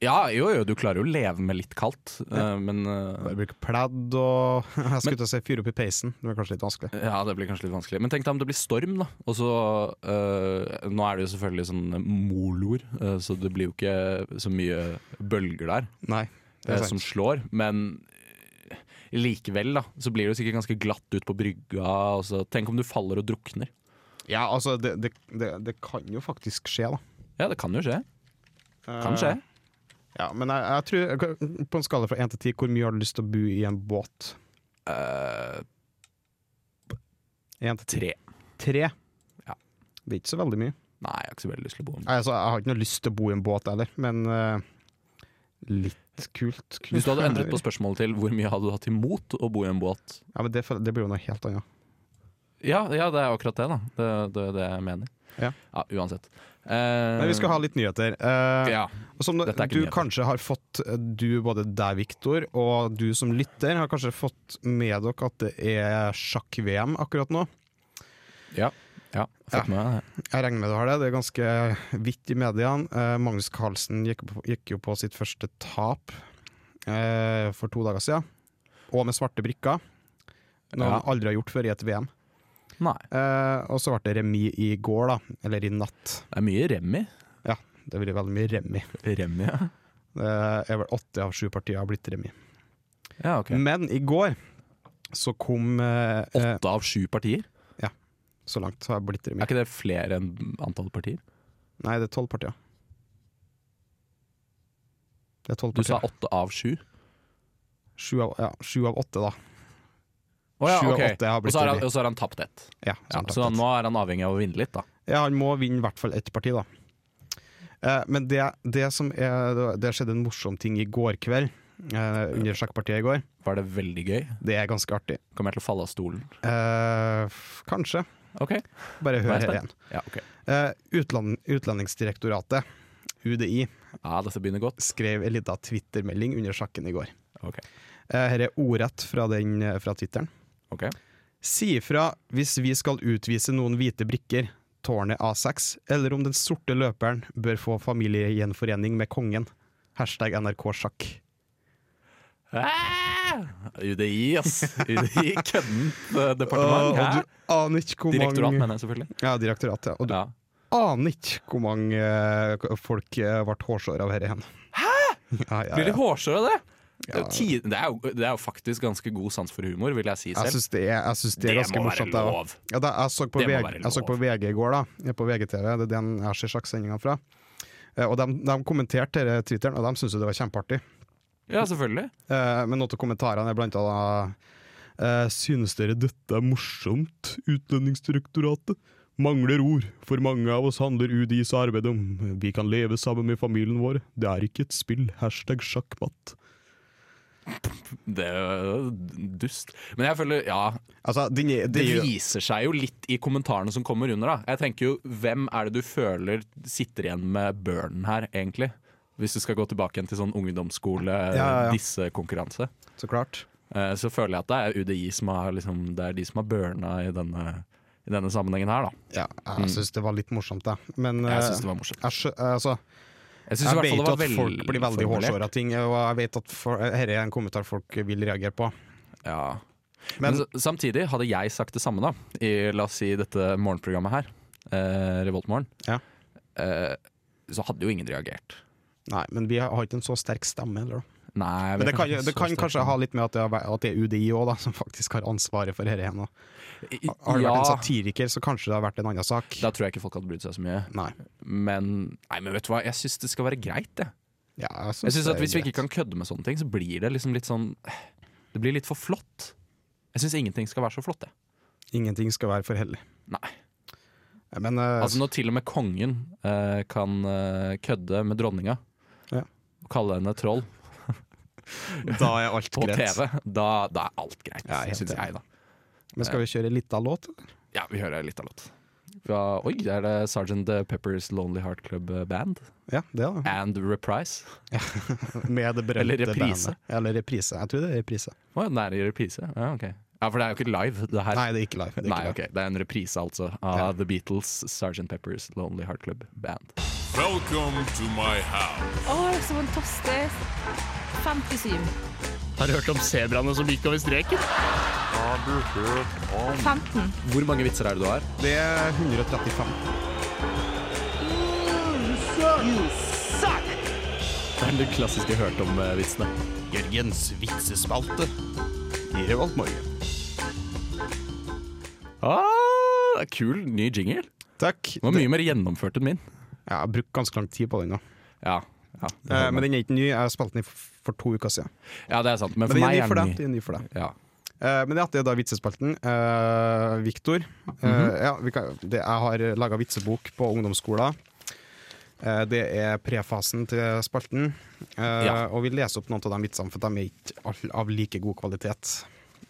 Speaker 4: Ja, jo, jo, du klarer jo å leve med litt kaldt, eh, men eh,
Speaker 2: Bare bruke pledd og Jeg skulle til å si fyre opp i peisen, det var kanskje litt vanskelig.
Speaker 4: Ja, det blir kanskje litt vanskelig. Men tenk deg om det blir storm, da. Og så eh, Nå er det jo selvfølgelig sånn moloer, eh, så det blir jo ikke så mye bølger der
Speaker 2: Nei,
Speaker 4: eh,
Speaker 2: det er
Speaker 4: som
Speaker 2: sant.
Speaker 4: slår, men eh, Likevel, da, så blir det jo sikkert ganske glatt ut på brygga. Og så, tenk om du faller og drukner.
Speaker 2: Ja, altså, det, det, det, det kan jo faktisk skje, da.
Speaker 4: Ja, det kan jo skje. Kan skje.
Speaker 2: Eh, Ja, men jeg, jeg tror På en skala fra én til ti, hvor mye har du lyst til å bo i en båt?
Speaker 4: Eh,
Speaker 2: Én til ti?
Speaker 4: tre.
Speaker 2: Tre?
Speaker 4: Ja.
Speaker 2: Det er ikke så veldig mye.
Speaker 4: Nei, jeg har ikke så veldig lyst til å bo om.
Speaker 2: Nei, Altså, jeg har ikke noe lyst til å bo i en båt heller, men eh, litt kult. kunne
Speaker 4: Hvis du hadde
Speaker 2: det
Speaker 4: endret
Speaker 2: være.
Speaker 4: på spørsmålet til hvor mye hadde du hatt imot å bo i en båt?
Speaker 2: Ja, men det, det blir jo noe helt annet.
Speaker 4: Ja, ja det er jo akkurat det, da. Det er det, det jeg mener.
Speaker 2: Ja.
Speaker 4: uansett. Eh,
Speaker 2: Men vi skal ha litt nyheter. Eh,
Speaker 4: ja.
Speaker 2: og som du
Speaker 4: dette er ikke nyheter.
Speaker 2: kanskje har fått, eh, du både deg, Viktor, og du som lytter, har kanskje fått med dere at det er sjakk-VM akkurat nå.
Speaker 4: Ja, ja fått med meg det.
Speaker 2: Jeg regner med du har det. Det er ganske vidt i mediene. Eh, Magnus Carlsen gikk, på- gikk jo på sitt første tap eh, for to dager siden, og med svarte brikker. Noe
Speaker 4: Ja.
Speaker 2: han aldri har gjort før i et VM.
Speaker 4: Nei.
Speaker 2: Eh, og så ble det remis i går, da. Eller i natt.
Speaker 4: Det er mye Remi.
Speaker 2: Det blir veldig mye remis.
Speaker 4: Remi, ja.
Speaker 2: Det er vel åtte av sju partier har blitt remis.
Speaker 4: ja ok.
Speaker 2: Men i går så kom Mm, eh, eh,
Speaker 4: Åtte av sju partier?
Speaker 2: Så langt har det blitt
Speaker 4: Er
Speaker 2: remis.
Speaker 4: ikke det flere enn antall partier?
Speaker 2: Nei, det er tolv partier. Det er tolv
Speaker 4: Du sa
Speaker 2: partier.
Speaker 4: åtte av sju?
Speaker 2: Sju av, ja, sju av åtte, da.
Speaker 4: Å ja,
Speaker 2: Sju av
Speaker 4: ok.
Speaker 2: åtte har
Speaker 4: Og
Speaker 2: blitt
Speaker 4: så har han,
Speaker 2: Remi.
Speaker 4: og så har han tapt ett.
Speaker 2: Ja,
Speaker 4: Ja,
Speaker 2: sånn
Speaker 4: så
Speaker 2: takt.
Speaker 4: nå er han avhengig av å vinne litt, da.
Speaker 2: Ja, han må vinne i hvert fall ett parti, da. Eh, men det, det som er Det skjedde en morsom ting i går kveld, eh, under sjakkpartiet i går.
Speaker 4: Var det veldig gøy?
Speaker 2: Det er ganske artig.
Speaker 4: Kommer jeg til å falle av stolen?
Speaker 2: Eh, f- kanskje.
Speaker 4: Ok.
Speaker 2: Bare hør
Speaker 4: Vær
Speaker 2: her
Speaker 4: spent.
Speaker 2: igjen.
Speaker 4: Ja, ok.
Speaker 2: Eh, utland, Utlendingsdirektoratet, UDI,
Speaker 4: Ja, dette begynner godt.
Speaker 2: skrev en liten twittermelding under sjakken i går.
Speaker 4: Ok.
Speaker 2: Eh, Her er ordrett fra, den, eh, fra twitteren.
Speaker 4: Ok.
Speaker 2: Si ifra hvis vi skal utvise noen hvite brikker, tårnet A6, eller om den sorte løperen bør få familiegjenforening med kongen. Hashtag NRK sjakk.
Speaker 4: Ah! UDI, ass. UDI, køddent eh, departement.
Speaker 2: og
Speaker 4: Hæ?
Speaker 2: du aner ikke hvor
Speaker 4: Direktorat,
Speaker 2: mange
Speaker 4: mener jeg selvfølgelig.
Speaker 2: Ja, direktoratet. Og du
Speaker 4: Ja.
Speaker 2: aner ikke hvor mange eh, k- folk eh, ble hårsår av dette. Hæ?! Ja, ja,
Speaker 4: Blir
Speaker 2: ja.
Speaker 4: de hårsåre av det? Det er jo ti- Det, er jo, det er jo faktisk ganske god sans for humor, vil jeg si selv.
Speaker 2: Jeg syns det er, jeg synes det er
Speaker 4: Det
Speaker 2: ganske
Speaker 4: må være
Speaker 2: morsomt. da.
Speaker 4: lov.
Speaker 2: Ja, da, jeg, så på
Speaker 4: Det må
Speaker 2: VG,
Speaker 4: være
Speaker 2: jeg så
Speaker 4: lov.
Speaker 2: på VG i går, da. eh, På VGTV. Det er den jeg ser sjakksendingene fra. Eh, Og de, de kommenterte dette Twitteren, og de syntes jo det var kjempeartig.
Speaker 4: Ja, selvfølgelig.
Speaker 2: Eh, Men noen av kommentarene er blant annet eh, Synes dere dette er morsomt, Utlendingsdirektoratet? Mangler ord, for mange av oss handler UDIs arbeid om vi kan leve sammen med familien vår, det er ikke et spill, hashtag sjakkmatt.
Speaker 4: Det er jo dust. Men jeg føler, ja
Speaker 2: Altså, den er-
Speaker 4: Det
Speaker 2: den er jo-
Speaker 4: viser seg jo litt i kommentarene som kommer under, da. Jeg tenker jo, hvem er det du føler sitter igjen med burnen her, egentlig? Hvis du skal gå tilbake igjen til sånn
Speaker 2: ja, ja.
Speaker 4: ungdomsskole-dissekonkurranse.
Speaker 2: Så klart.
Speaker 4: eh, Så føler jeg at det er UDI som har liksom, Det er de som har burna i denne, i denne sammenhengen her, da.
Speaker 2: Ja, jeg syns det var litt morsomt, da. Men
Speaker 4: Mm. Jeg
Speaker 2: eh,
Speaker 4: syns det var morsomt.
Speaker 2: jeg skjø- altså,
Speaker 4: Jeg synes i
Speaker 2: Jeg
Speaker 4: hvert fall
Speaker 2: vet
Speaker 4: det
Speaker 2: jo
Speaker 4: var
Speaker 2: at folk blir veldig
Speaker 4: velformulert.
Speaker 2: hårsåra ting, og jeg vet at for- her er en kommentar folk vil reagere på.
Speaker 4: Ja. Men,
Speaker 2: Men
Speaker 4: s- samtidig, hadde jeg sagt det samme da i la oss si dette morgenprogrammet her, eh, Revoltmorgen,
Speaker 2: Ja.
Speaker 4: eh, så hadde jo ingen reagert.
Speaker 2: Nei, men vi har har ikke en så sterk stemme heller, da.
Speaker 4: Nei,
Speaker 2: Men
Speaker 4: vi
Speaker 2: det
Speaker 4: er sånn.
Speaker 2: kan,
Speaker 4: kanskje ikke
Speaker 2: det
Speaker 4: så
Speaker 2: kan
Speaker 4: sterke.
Speaker 2: kanskje ha litt med at det, har vært- at det er UDI også, da, som faktisk har ansvaret for dette igjen. da.
Speaker 4: I-
Speaker 2: Har det
Speaker 4: ja,
Speaker 2: vært en satiriker, så kanskje det har vært en annen sak.
Speaker 4: Da tror jeg ikke folk hadde brydd seg så mye.
Speaker 2: Nei.
Speaker 4: Men, nei, men vet du hva, jeg syns det skal være greit, jeg.
Speaker 2: Ja, jeg
Speaker 4: Jeg synes
Speaker 2: det
Speaker 4: at
Speaker 2: er
Speaker 4: Hvis vi
Speaker 2: greit.
Speaker 4: ikke kan kødde med sånne ting, så blir det liksom litt sånn Det blir litt for flott. Jeg syns ingenting skal være så flott, jeg.
Speaker 2: Ingenting skal være for hellig.
Speaker 4: Nei.
Speaker 2: Men eh,
Speaker 4: Altså Når til og med kongen eh, kan eh, kødde med dronninga
Speaker 2: Ja.
Speaker 4: og kalle henne troll
Speaker 2: da er alt
Speaker 4: på
Speaker 2: greit.
Speaker 4: TV, da, da er alt greit,
Speaker 2: Ja, helt
Speaker 4: syns
Speaker 2: enig.
Speaker 4: jeg, da.
Speaker 2: Men skal vi kjøre litt av låt? eller?
Speaker 4: Ja, vi hører litt av låt. Fra, oi, det er det Sergeant Peppers Lonely Heart Club eh, Band
Speaker 2: Ja, det da.
Speaker 4: and Reprise.
Speaker 2: Med det berømte
Speaker 4: Eller reprise.
Speaker 2: bandet. Eller reprise. Jeg tror det er reprise.
Speaker 4: Å, den er i reprise? Ja, ok. Ja, for det er jo ikke live, det her.
Speaker 2: Nei, det er ikke live. Det er
Speaker 4: Nei,
Speaker 2: ikke live.
Speaker 4: ok. Det er en reprise, altså, av The Beatles' Sergeant Peppers Lonely Heart Club Band.
Speaker 9: Welcome to my house.
Speaker 10: Å, det er så fantastisk. 57.
Speaker 11: Har du hørt om sebraene som gikk over streken?
Speaker 10: 15.
Speaker 4: Hvor mange vitser er det du har?
Speaker 2: Det er 135.
Speaker 4: Det er den klassiske hørt
Speaker 11: eh,
Speaker 4: om-vitsene.
Speaker 2: Jørgens vitsespalte i Revolt Morgen.
Speaker 4: Ah, det er kul ny jingle.
Speaker 2: Takk.
Speaker 4: Den var mye mer gjennomført enn min.
Speaker 2: Ja, jeg har brukt ganske lang tid på den nå.
Speaker 4: Ja, ja, det,
Speaker 2: Eh, men den er ikke ny. Jeg spilte den i f- for to uker siden.
Speaker 4: ja, det er sant. Men
Speaker 2: Men
Speaker 4: for
Speaker 2: den er
Speaker 4: meg
Speaker 2: ny for deg.
Speaker 4: er den ny.
Speaker 2: Den er ny for deg.
Speaker 4: Ja.
Speaker 2: Eh, men det er artig, da vitsespalten. Eh, Viktor, eh,
Speaker 4: Mhm.
Speaker 2: ja, vi kan- det- jeg har laga vitsebok på ungdomsskolen. Eh, det er prefasen til spalten. Eh,
Speaker 4: Ja.
Speaker 2: Og vi leser opp noen av de vitsene, for de er ikke all- av like god kvalitet.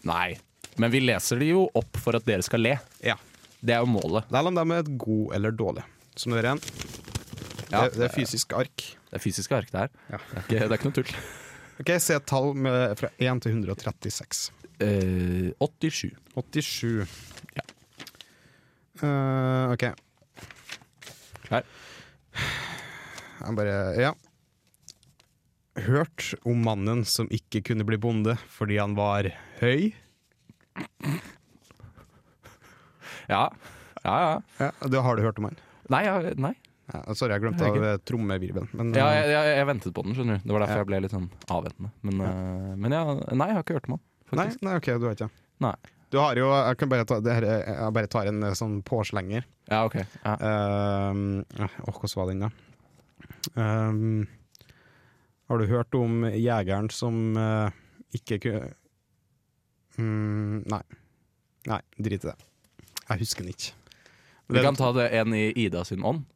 Speaker 4: Nei. Men vi leser det jo opp for at dere skal le.
Speaker 2: Ja.
Speaker 4: Det er jo målet.
Speaker 2: Selv om de er gode eller dårlige. Som dere er.
Speaker 4: Ja,
Speaker 2: det, det er fysisk ark.
Speaker 4: Det er fysiske ark, det her.
Speaker 2: Ja.
Speaker 4: Det, er ikke, det er ikke noe tull.
Speaker 2: Ok, Se et tall med, fra 1 til 136.
Speaker 4: Eh, 87.
Speaker 2: 87.
Speaker 4: Ja.
Speaker 2: Eh, OK.
Speaker 4: Klar.
Speaker 2: Jeg bare Ja. Hørt om mannen som ikke kunne bli bonde fordi han var høy.
Speaker 4: Ja. Ja, ja.
Speaker 2: Ja, det har du hørt om han.
Speaker 4: Nei, ja, nei.
Speaker 2: Ja, sorry, jeg glemte av eh, trommevirvelen. Men
Speaker 4: Ja,
Speaker 2: eh,
Speaker 4: jeg, jeg, jeg ventet på den, skjønner du. Det var derfor
Speaker 2: Ja.
Speaker 4: jeg ble litt sånn avventende. Men, eh, men ja, nei, jeg har ikke hørt om han.
Speaker 2: nei,
Speaker 4: Faktisk.
Speaker 2: nei, OK, du har ikke.
Speaker 4: Nei.
Speaker 2: Du har jo Jeg kan bare ta det her, eh, Jeg bare tar en eh, sånn påslenger.
Speaker 4: Ja, ok.
Speaker 2: Eh,
Speaker 4: Ja.
Speaker 2: Um, Åh, hvordan var den, da? Ehm, har du hørt om jegeren som eh, ikke kunne mm, Nei. Nei, drit i det. Jeg husker den ikke.
Speaker 4: Vi kan ta det en i Ida sin ånd.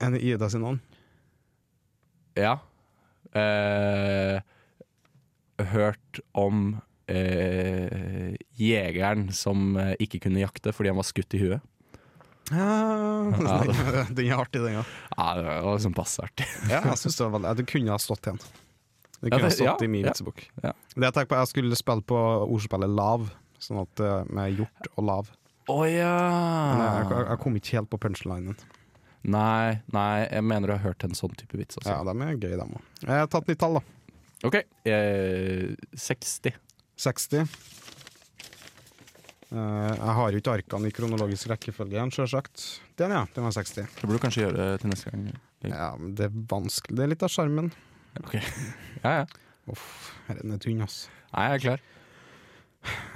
Speaker 2: En Ida sin ånd.
Speaker 4: Ja. Eh, hørt om eh, jegeren som eh, ikke kunne jakte fordi han var skutt i huet.
Speaker 2: Ja, den- den er artig, den òg.
Speaker 4: Ja, det var liksom passe artig.
Speaker 2: Ja, jeg synes det var veldig- det kunne ha stått igjen. Det kunne
Speaker 4: Ja,
Speaker 2: ha
Speaker 4: det-
Speaker 2: stått
Speaker 4: ja,
Speaker 2: i min
Speaker 4: ja,
Speaker 2: vitsebok.
Speaker 4: ja.
Speaker 2: Det Jeg tenkte på, jeg skulle spille på ordspillet lav, sånn at eh, med hjort og lav.
Speaker 4: Å
Speaker 2: Men jeg, jeg,
Speaker 4: ja!
Speaker 2: jeg kom ikke helt på punchlinen.
Speaker 4: Nei, nei, jeg mener du har hørt en sånn type vits også.
Speaker 2: Ja, de er gøy, dem òg. Jeg har tatt nytt tall, da.
Speaker 4: OK. Eh, 60.
Speaker 2: 60. Eh, jeg har jo ikke arkene i kronologisk rekkefølge igjen, sjølsagt. Den, ja. Den var 60.
Speaker 4: Det burde du kanskje gjøre til neste gang.
Speaker 2: Ja, men det er vanskelig. Det er litt av sjarmen.
Speaker 4: Ok. Ja, ja.
Speaker 2: Uff, her er den tynn, ass.
Speaker 4: Nei, jeg er klar.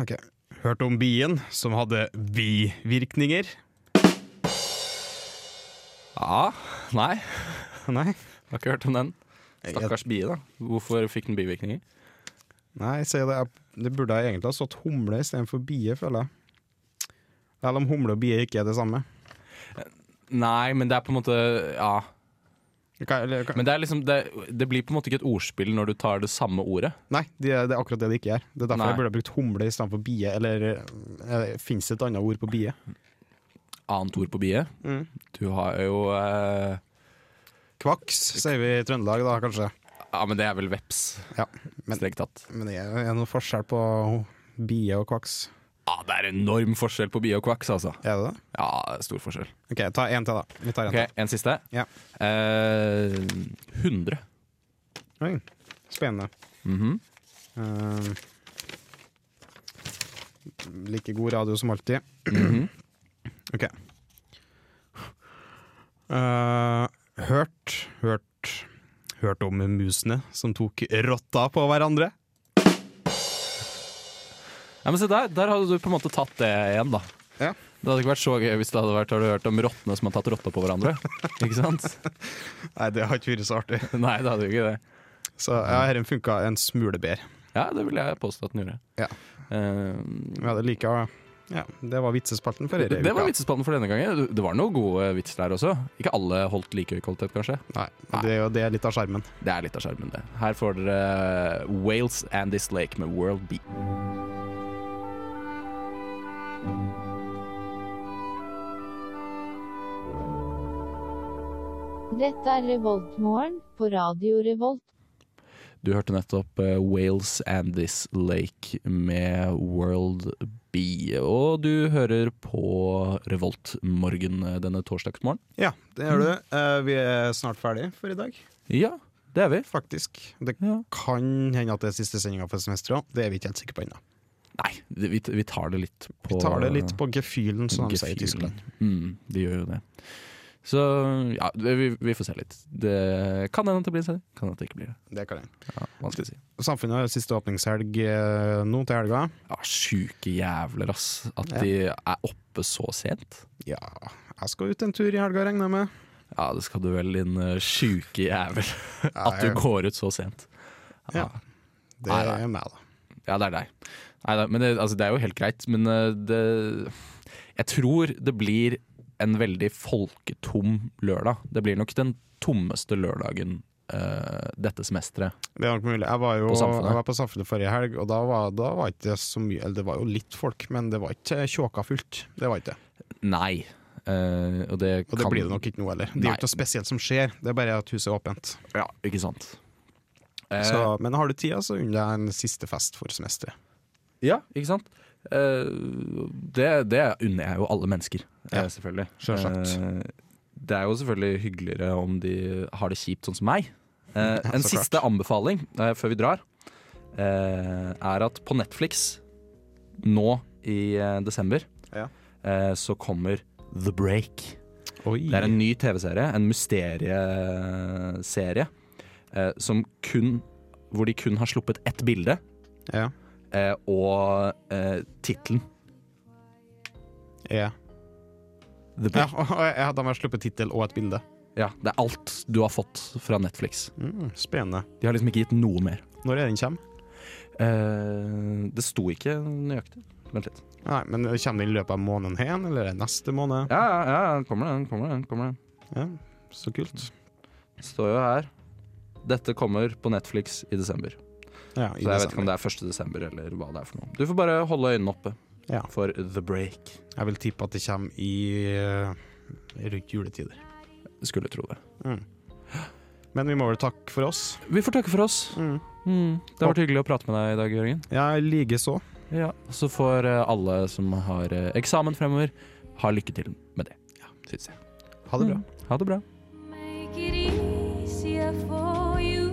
Speaker 2: Ok. Hørte om bien som hadde bivirkninger?
Speaker 4: Ja, nei,
Speaker 2: Nei.
Speaker 4: jeg har ikke hørt om den. Stakkars bie, da. Hvorfor fikk den bivirkninger?
Speaker 2: Nei, si det. Jeg- Det burde jeg egentlig ha stått humle istedenfor bie, føler jeg. Selv om humle og bie ikke er det samme.
Speaker 4: Nei, men det er på en måte Ja.
Speaker 2: Kan- eller kan-
Speaker 4: Men det, er liksom, det, det blir på en måte ikke et ordspill når du tar det samme ordet.
Speaker 2: Nei, det er, det er akkurat det det ikke er. Det er derfor
Speaker 4: Nei.
Speaker 2: jeg burde ha brukt humle istedenfor bie. Eller eh, fins det et annet ord på bie?
Speaker 4: Annet ord på bie.
Speaker 2: Mm.
Speaker 4: Du har jo eh,
Speaker 2: Kvaks, sier vi i Trøndelag da, kanskje.
Speaker 4: Ja, men det er vel veps,
Speaker 2: Ja, men,
Speaker 4: strengt tatt.
Speaker 2: men det er det noe forskjell på bie og kvaks.
Speaker 4: Ja, det er enorm forskjell på bi og kvaks, altså.
Speaker 2: Er det det?
Speaker 4: Ja, stor forskjell.
Speaker 2: OK, ta en til, da. Vi tar en
Speaker 4: Ok, En siste.
Speaker 2: Ja.
Speaker 4: Eh, 100.
Speaker 2: til. Oi, spennende.
Speaker 4: Mhm.
Speaker 2: Eh, like god radio som alltid. Mhm. OK. Eh, hørt, hørt Hørt om musene som tok rotta på hverandre?
Speaker 4: Ja, men se der, der hadde du på en måte tatt det igjen, da.
Speaker 2: Ja.
Speaker 4: Det hadde ikke vært så gøy hvis det hadde vært Har du hørt om rottene som har tatt rotta på hverandre? ikke sant?
Speaker 2: Nei, det har ikke vært så artig.
Speaker 4: Nei, det hadde jo ikke det.
Speaker 2: Så ja, dette funka en smule bedre.
Speaker 4: Ja, det vil jeg påstå at den gjorde.
Speaker 2: Ja.
Speaker 4: Eh,
Speaker 2: Ja, det liker jeg. Ja, det var vitsespalten for dere.
Speaker 4: det var vitsespannen for denne gangen. Det var noen gode vitser der også. Ikke alle holdt like høy kvalitet, kanskje.
Speaker 2: Nei, det er jo det er litt av skjermen.
Speaker 4: Det er litt av skjermen, det. Her får dere eh, Wales and This Lake med World Beat.
Speaker 12: Dette er Revoltmorgen på Radio Revolt.
Speaker 4: Du hørte nettopp eh, Wales and This Lake med World Bee. Og du hører på Revoltmorgen eh, denne torsdagsmorgen.
Speaker 2: Ja, det gjør du. Eh, vi er snart ferdig for i dag,
Speaker 4: Ja, det er vi.
Speaker 2: faktisk. Det kan hende at det er siste sendinga for semesteret òg, det er vi ikke helt sikre på ennå.
Speaker 4: Nei, det- vi, vi tar det litt på
Speaker 2: Vi tar det litt på gefühlen, som de sier i
Speaker 4: gefühlen.
Speaker 2: Tyskland.
Speaker 4: Mm, de gjør jo det. Så ja, det- vi, vi får se litt. Det kan hende at det blir det, kan hende at det ikke blir det.
Speaker 2: Det kan jeg.
Speaker 4: Ja, vanskelig å si.
Speaker 2: Samfunnet har siste åpningshelg eh, nå til helga.
Speaker 4: Ja, Sjuke jævler, ass. At
Speaker 2: Ja.
Speaker 4: de er oppe så sent.
Speaker 2: Ja, jeg skal ut en tur i helga, regner jeg med.
Speaker 4: Ja, det skal du vel, din eh, sjuke jævel. At du
Speaker 2: Nei.
Speaker 4: går ut så sent.
Speaker 2: Ja, det
Speaker 4: Nei, nei.
Speaker 2: er meg, da.
Speaker 4: Ja, det er deg. Nei, nei, men det, altså, det er jo helt greit, men eh, det Jeg tror det blir en veldig folketom lørdag. Det blir nok den tommeste lørdagen eh, dette semesteret.
Speaker 2: Det er nok mulig. Jeg var jo
Speaker 4: På Samfunnet.
Speaker 2: jeg var på Samfunnet forrige helg, og da var, da var ikke det så mye Eller det var jo litt folk, men det var ikke tjåka fullt. Det var ikke det.
Speaker 4: Nei. Eh, og det,
Speaker 2: Og det
Speaker 4: kan,
Speaker 2: blir det nok ikke nå heller. Det er
Speaker 4: Nei.
Speaker 2: jo ikke noe spesielt som skjer, det er bare at huset er åpent.
Speaker 4: Ja, ikke sant. Eh,
Speaker 2: Så, men har du tida, så unner jeg en siste fest for semesteret.
Speaker 4: Ja, ikke sant? Eh, det, det unner jeg jo alle mennesker, eh, selvfølgelig.
Speaker 2: selvsagt.
Speaker 4: Eh, det er jo selvfølgelig hyggeligere om de har det kjipt, sånn som meg. Eh, en
Speaker 2: så
Speaker 4: siste anbefaling eh, før vi drar, eh, er at på Netflix nå i eh, desember
Speaker 2: Ja.
Speaker 4: eh, så kommer The Break.
Speaker 2: Oi.
Speaker 4: Det er en ny TV-serie, en mysterieserie, eh, som kun, hvor de kun har sluppet ett bilde
Speaker 2: Ja.
Speaker 4: eh, og eh, tittelen
Speaker 2: Ja.
Speaker 4: The
Speaker 2: Ja,
Speaker 4: Break.
Speaker 2: og jeg hadde med sluppet tittel og et bilde.
Speaker 4: Ja, det er alt du har fått fra Netflix.
Speaker 2: Mm, spennende.
Speaker 4: De har liksom ikke gitt noe mer.
Speaker 2: Når er den kommer?
Speaker 4: Eh, det sto ikke nøyaktig. Vent litt.
Speaker 2: Nei, men Kommer den i løpet av måneden hen, eller er det neste måned?
Speaker 4: Ja, ja, ja, den kommer, den kommer, den kommer. den.
Speaker 2: Ja, Så kult.
Speaker 4: Det står jo her. Dette kommer på Netflix i desember.
Speaker 2: Ja,
Speaker 4: Så jeg vet ikke om det er 1. desember eller hva det er for noe. Du får bare holde øynene oppe
Speaker 2: Ja.
Speaker 4: for The Break.
Speaker 2: Jeg vil tippe at det kommer i eh, rundt juletider.
Speaker 4: Skulle tro det.
Speaker 2: Men vi må vel takke for oss.
Speaker 4: Vi får takke for oss.
Speaker 2: Mm.
Speaker 4: Mm. Det har vært hyggelig å prate med deg i dag, Jørgen.
Speaker 2: Ja, likeså.
Speaker 4: Ja. Så får eh, alle som har eh, eksamen fremover, ha lykke til med det. Ja, synes jeg.
Speaker 2: Ha det bra.
Speaker 4: Ha det bra.
Speaker 6: Make it easier for you.